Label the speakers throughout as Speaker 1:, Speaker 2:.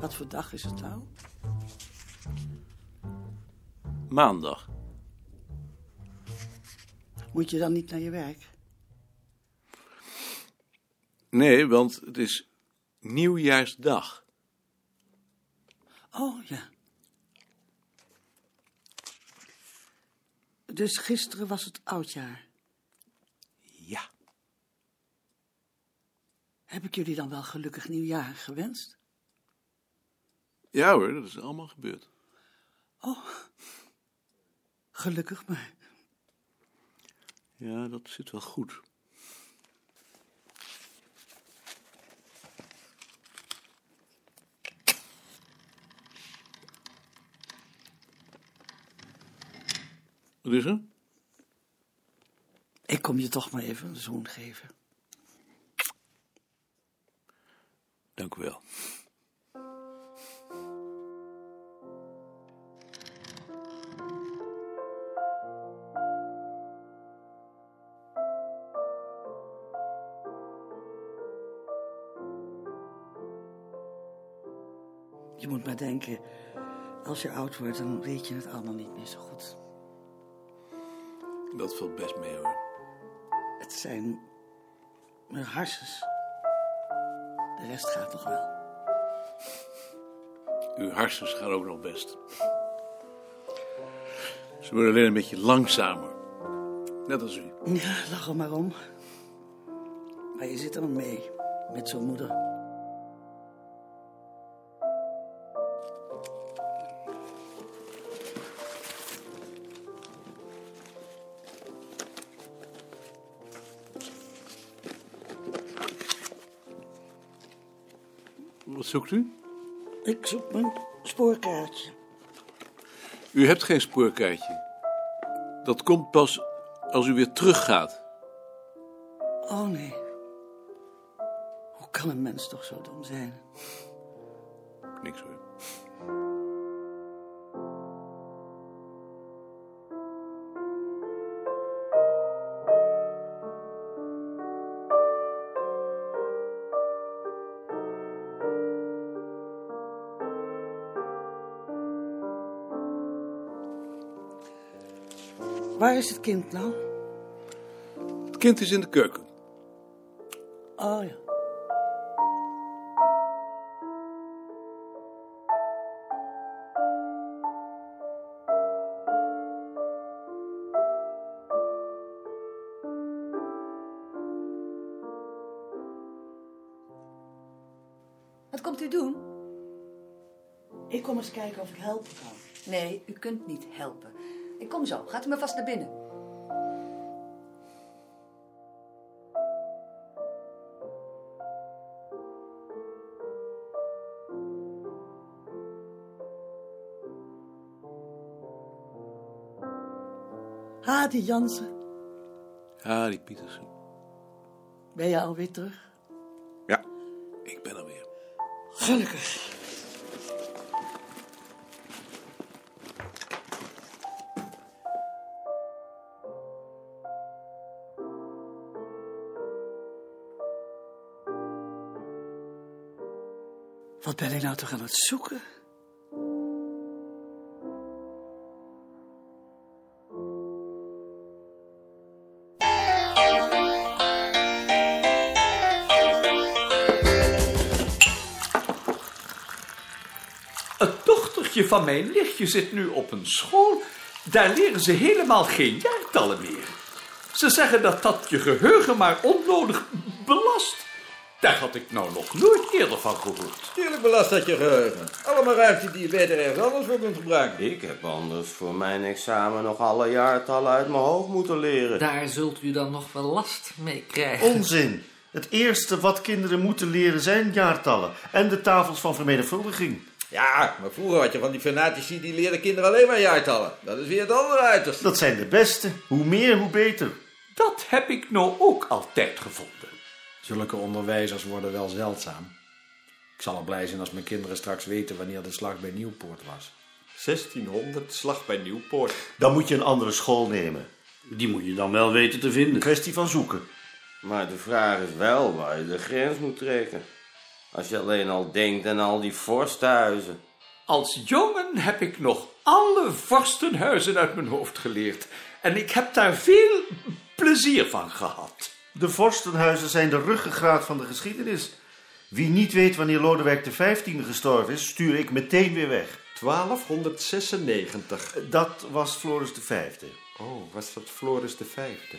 Speaker 1: Wat voor dag is het nou?
Speaker 2: Maandag.
Speaker 1: Moet je dan niet naar je werk?
Speaker 2: Nee, want het is nieuwjaarsdag.
Speaker 1: Oh ja. Dus gisteren was het oudjaar.
Speaker 2: Ja.
Speaker 1: Heb ik jullie dan wel gelukkig nieuwjaar gewenst?
Speaker 2: Ja hoor, dat is allemaal gebeurd.
Speaker 1: Oh, gelukkig maar.
Speaker 2: Ja, dat zit wel goed. Wat is er?
Speaker 1: Ik kom je toch maar even een zoen geven.
Speaker 2: Dank u wel.
Speaker 1: Je moet maar denken, als je oud wordt, dan weet je het allemaal niet meer zo goed.
Speaker 2: Dat valt best mee hoor.
Speaker 1: Het zijn mijn harsjes. De rest gaat nog wel.
Speaker 2: Uw hersens gaan ook nog best. Ze worden alleen een beetje langzamer. Net als u.
Speaker 1: Ja, lach er maar om. Maar je zit er mee, met zo'n moeder.
Speaker 2: Wat zoekt u?
Speaker 1: Ik zoek mijn spoorkaartje.
Speaker 2: U hebt geen spoorkaartje. Dat komt pas als u weer teruggaat.
Speaker 1: Oh nee. Hoe kan een mens toch zo dom zijn?
Speaker 2: Niks hoor.
Speaker 1: Waar is het kind nou?
Speaker 2: Het kind is in de keuken.
Speaker 1: Oh ja.
Speaker 3: Wat komt u doen?
Speaker 1: Ik kom eens kijken of ik helpen kan.
Speaker 3: Nee, u kunt niet helpen. Ik kom zo. Gaat u maar vast naar binnen.
Speaker 1: Hadi Jansen,
Speaker 2: Ah, die Pietersen.
Speaker 1: ben je alweer terug?
Speaker 2: Ja. Ik ben er weer.
Speaker 1: Gelukkig. Wat ben ik nou toch aan het zoeken?
Speaker 4: Het dochtertje van mijn nichtje zit nu op een school. Daar leren ze helemaal geen jaartallen meer. Ze zeggen dat dat je geheugen maar onnodig belast. Daar had ik nou nog nooit eerder van gehoord.
Speaker 5: Tuurlijk belast dat je geheugen. Allemaal ruimte die je beter ergens anders voor kunt gebruiken.
Speaker 6: Ik heb anders voor mijn examen nog alle jaartallen uit mijn hoofd moeten leren.
Speaker 7: Daar zult u dan nog wel last mee krijgen.
Speaker 8: Onzin. Het eerste wat kinderen moeten leren zijn jaartallen en de tafels van vermenigvuldiging.
Speaker 5: Ja, maar vroeger had je van die fanatici die leerden kinderen alleen maar jaartallen. Dat is weer het andere uiterste.
Speaker 8: Dat zijn de beste. Hoe meer, hoe beter.
Speaker 4: Dat heb ik nou ook altijd gevonden.
Speaker 9: Zulke onderwijzers worden wel zeldzaam. Ik zal al blij zijn als mijn kinderen straks weten wanneer de slag bij Nieuwpoort was.
Speaker 10: 1600, slag bij Nieuwpoort.
Speaker 8: Dan moet je een andere school nemen.
Speaker 10: Die moet je dan wel weten te vinden.
Speaker 8: Een kwestie van zoeken.
Speaker 6: Nou, Maar de vraag is wel waar je de grens moet trekken. Als je alleen al denkt aan al die vorstenhuizen.
Speaker 4: Als jongen heb ik nog alle vorstenhuizen uit mijn hoofd geleerd. En ik heb daar veel plezier van gehad.
Speaker 8: De vorstenhuizen zijn de ruggengraat van de geschiedenis. Wie niet weet wanneer Lodewijk XV gestorven is, stuur ik meteen weer weg.
Speaker 10: 1296.
Speaker 8: Dat was Floris V.
Speaker 10: Oh, was dat Floris de Vijfde?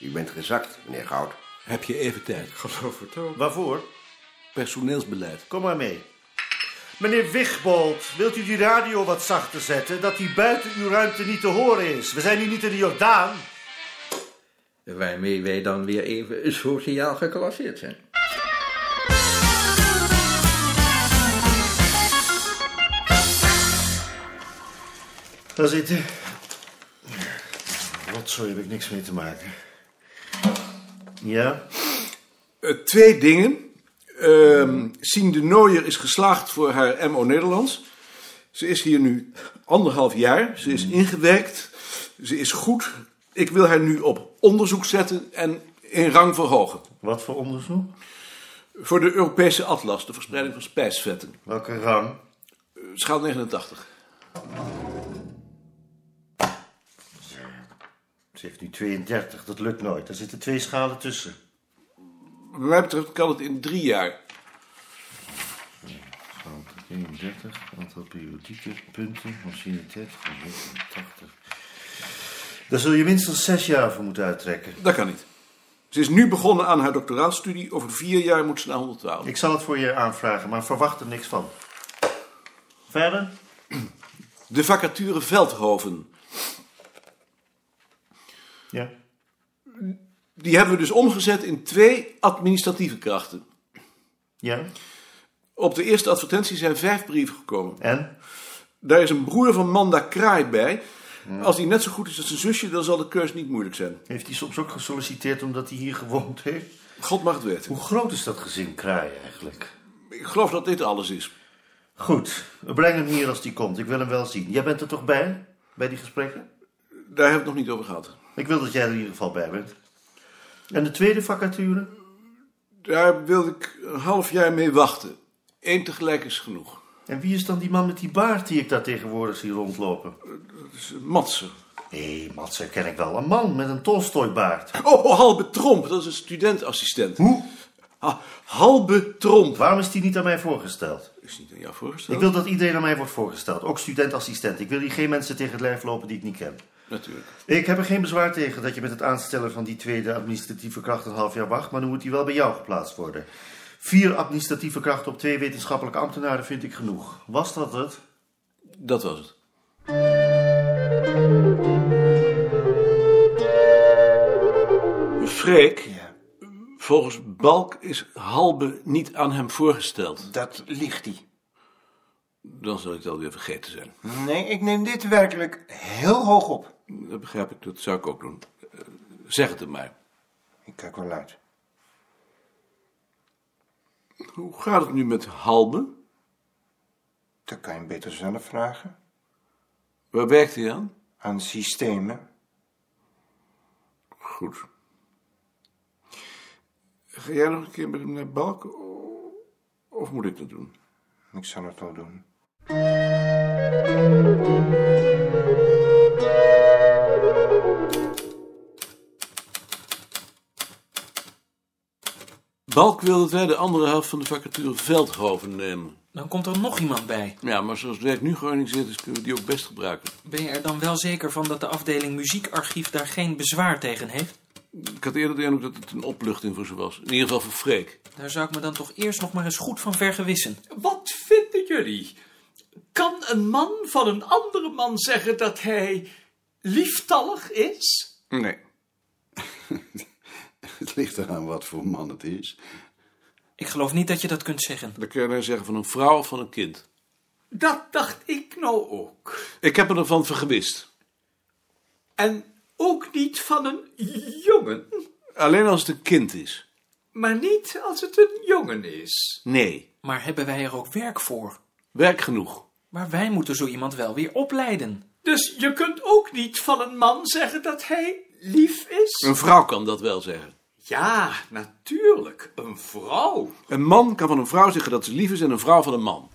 Speaker 11: U bent gezakt, meneer Goud.
Speaker 2: Heb je even tijd?
Speaker 10: Geloof het ook.
Speaker 8: Waarvoor?
Speaker 2: Personeelsbeleid.
Speaker 8: Kom maar mee. Meneer Wigbold, wilt u die radio wat zachter zetten, dat die buiten uw ruimte niet te horen is? We zijn hier niet in de Jordaan.
Speaker 5: Waarmee wij dan weer even sociaal geclasseerd zijn.
Speaker 8: Daar zitten. Rotzooi heb ik niks mee te maken. Ja?
Speaker 2: Eh, twee dingen. Ehm Sien de Nooier is geslaagd voor haar MO Nederlands. Ze is hier nu anderhalf jaar. Ze is ingewerkt. Ze is goed. Ik wil haar nu op onderzoek zetten en in rang verhogen.
Speaker 8: Wat voor onderzoek?
Speaker 2: Voor de Europese atlas, de verspreiding van spijsvetten.
Speaker 8: Welke rang?
Speaker 2: Eh, Schaal 89.
Speaker 8: Ze heeft nu 32, dat lukt nooit. Daar zitten twee schalen tussen.
Speaker 2: Wat mij betreft kan het in drie jaar.
Speaker 8: Schaal 31, aantal periodieke punten, machiniteit, 80. Daar zul je minstens zes jaar voor moeten uittrekken.
Speaker 2: Dat kan niet. Ze is nu begonnen aan haar doctoraatstudie. Over vier jaar moet ze naar 112.
Speaker 8: Ik zal het voor je aanvragen, maar verwacht er niks van. Verder?
Speaker 2: De vacature Veldhoven.
Speaker 8: Ja.
Speaker 2: Die hebben we dus omgezet in twee administratieve krachten.
Speaker 8: Ja?
Speaker 2: Op de eerste advertentie zijn vijf brieven gekomen.
Speaker 8: En?
Speaker 2: Daar is een broer van Manda Kraai bij. Als die net zo goed is als zijn zusje, dan zal de keus niet moeilijk zijn.
Speaker 8: Heeft hij soms ook gesolliciteerd omdat hij hier gewoond heeft?
Speaker 2: God mag het weten.
Speaker 8: Hoe groot is dat gezin Kraai eigenlijk?
Speaker 2: Ik geloof dat dit alles is.
Speaker 8: Goed, breng hem hier als hij komt. Ik wil hem wel zien. Jij bent er toch bij? Bij die gesprekken?
Speaker 2: Daar hebben we het nog niet over gehad.
Speaker 8: Ik wil dat jij er in ieder geval bij bent. En de tweede vacature?
Speaker 2: Daar wil ik een half jaar mee wachten. Eén tegelijk is genoeg.
Speaker 8: En wie is dan die man met die baard die ik daar tegenwoordig zie rondlopen?
Speaker 2: Dus Matsen.
Speaker 8: Nee, Mats, ken ik wel. Een man met een Tolstoy-baard.
Speaker 2: Oh, Halbe Tromp, dat is een studentassistent. Hoe? Halbe Tromp.
Speaker 8: Waarom is die niet aan mij voorgesteld?
Speaker 2: Is niet aan jou voorgesteld?
Speaker 8: Ik wil dat iedereen aan mij wordt voorgesteld. Ook student-assistent. Ik wil hier geen mensen tegen het lijf lopen die ik niet ken.
Speaker 2: Natuurlijk.
Speaker 8: Ik heb er geen bezwaar tegen dat je met het aanstellen van die tweede administratieve kracht een half jaar wacht, maar dan moet die wel bij jou geplaatst worden. Vier administratieve krachten op twee wetenschappelijke ambtenaren vind ik genoeg. Was dat het?
Speaker 2: Dat was het. Freek, volgens Balk is Halbe niet aan hem voorgesteld.
Speaker 11: Dat ligt hij.
Speaker 2: Dan zal ik dat weer vergeten zijn.
Speaker 11: Nee, ik neem dit werkelijk heel hoog op.
Speaker 2: Dat begrijp ik, dat zou ik ook doen. Eh, Zeg het hem maar.
Speaker 11: Ik kijk wel uit.
Speaker 2: Hoe gaat het nu met Halbe?
Speaker 11: Dat kan je hem beter zelf vragen.
Speaker 2: Waar werkt hij aan?
Speaker 11: Aan systemen.
Speaker 2: Goed. Ga jij nog een keer met hem naar Balk? Of moet ik dat doen?
Speaker 11: Ik zal het wel doen.
Speaker 2: Balk wil dat wij de andere helft van de vacature Veldhoven nemen.
Speaker 7: Dan komt er nog iemand bij.
Speaker 2: Ja, maar zoals het werk nu georganiseerd is, kunnen we die ook best gebruiken.
Speaker 7: Ben je er dan wel zeker van dat de afdeling muziekarchief daar geen bezwaar tegen heeft?
Speaker 2: Ik had eerder de indruk dat het een opluchting voor ze was. In ieder geval voor Freek.
Speaker 7: Daar zou ik me dan toch eerst nog maar eens goed van vergewissen.
Speaker 4: Wat vinden jullie? Kan een man van een andere man zeggen dat hij lieftallig is?
Speaker 2: Nee.
Speaker 12: Het ligt eraan wat voor man het is.
Speaker 7: Ik geloof niet dat je dat kunt zeggen.
Speaker 2: Dan kun je nou zeggen van een vrouw of van een kind.
Speaker 4: Dat dacht ik nou ook.
Speaker 2: Ik heb me ervan vergewist.
Speaker 4: En ook niet van een jongen,
Speaker 2: Alleen als het een kind is.
Speaker 4: maar niet als het een jongen is.
Speaker 2: Nee.
Speaker 7: Maar hebben wij er ook werk voor?
Speaker 2: Werk genoeg.
Speaker 7: Maar wij moeten zo iemand wel weer opleiden.
Speaker 4: Dus je kunt ook niet van een man zeggen dat hij lief is?
Speaker 2: Een vrouw kan dat wel zeggen.
Speaker 13: Ja, natuurlijk. Een vrouw.
Speaker 2: Een man kan van een vrouw zeggen dat ze lief is en een vrouw van een man.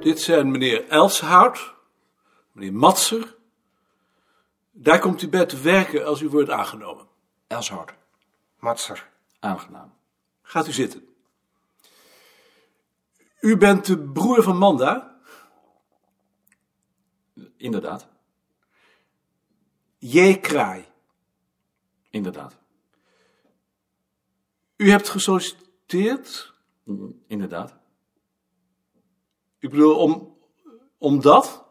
Speaker 2: Dit zijn meneer Elshout, meneer Matser. Daar komt u bij te werken als u wordt aangenomen.
Speaker 4: Elshout.
Speaker 11: Matser.
Speaker 4: Aangenaam.
Speaker 2: Gaat u zitten. U bent de broer van Manda?
Speaker 4: Inderdaad.
Speaker 2: J. Kraai.
Speaker 4: Inderdaad.
Speaker 2: U hebt gesolliciteerd?
Speaker 4: Inderdaad.
Speaker 2: Ik bedoel, om, omdat?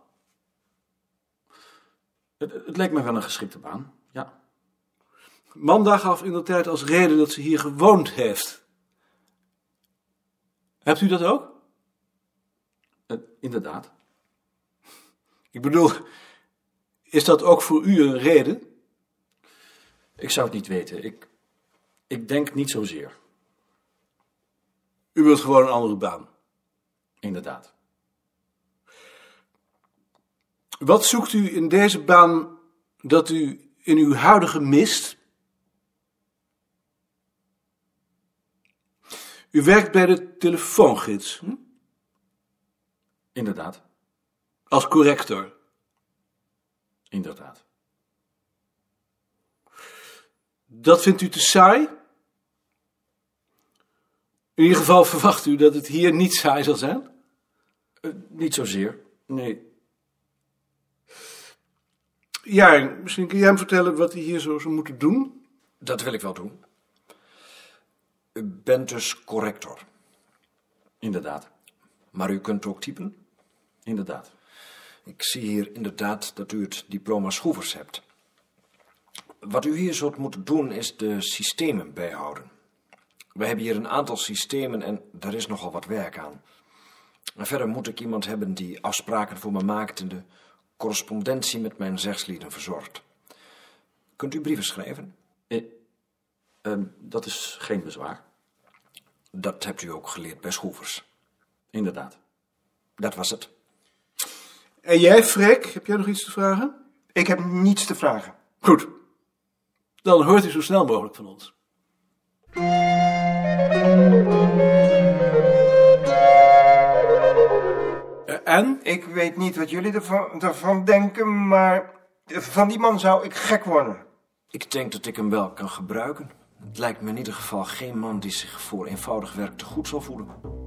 Speaker 4: Het, het leek me wel een geschikte baan, ja.
Speaker 2: Manda gaf in de tijd als reden dat ze hier gewoond heeft. Hebt u dat ook?
Speaker 4: Eh, inderdaad.
Speaker 2: Ik bedoel, is dat ook voor u een reden?
Speaker 4: Ik zou het niet weten. Ik, ik denk niet zozeer.
Speaker 2: U wilt gewoon een andere baan.
Speaker 4: Inderdaad.
Speaker 2: Wat zoekt u in deze baan dat u in uw huidige mist? U werkt bij de telefoongids. hm?
Speaker 4: Inderdaad.
Speaker 2: Als corrector.
Speaker 4: Inderdaad.
Speaker 2: Dat vindt u te saai? In ieder geval verwacht u dat het hier niet saai zal zijn?
Speaker 4: Eh, niet zozeer. Nee.
Speaker 2: Ja, misschien kun jij hem vertellen wat hij hier zo zou moeten doen.
Speaker 4: Dat wil ik wel doen. U bent dus corrector. Inderdaad. Maar u kunt ook typen? Inderdaad. Ik zie hier inderdaad dat u het diploma schroevers hebt. Wat u hier zult moeten doen is de systemen bijhouden. We hebben hier een aantal systemen en daar is nogal wat werk aan. En verder moet ik iemand hebben die afspraken voor me maakt en de correspondentie met mijn zegslieden verzorgt. Kunt u brieven schrijven? dat is geen bezwaar. Dat hebt u ook geleerd bij Schroevers. Inderdaad. Dat was het.
Speaker 2: En jij, Freek, heb jij nog iets te vragen?
Speaker 11: Ik heb niets te vragen.
Speaker 2: Goed. Dan hoort u zo snel mogelijk van ons. Eh, En?
Speaker 11: Ik weet niet wat jullie ervan, ervan denken, maar van die man zou ik gek worden.
Speaker 4: Ik denk dat ik hem wel kan gebruiken. Het lijkt me in ieder geval geen man die zich voor eenvoudig werk te goed zal voelen.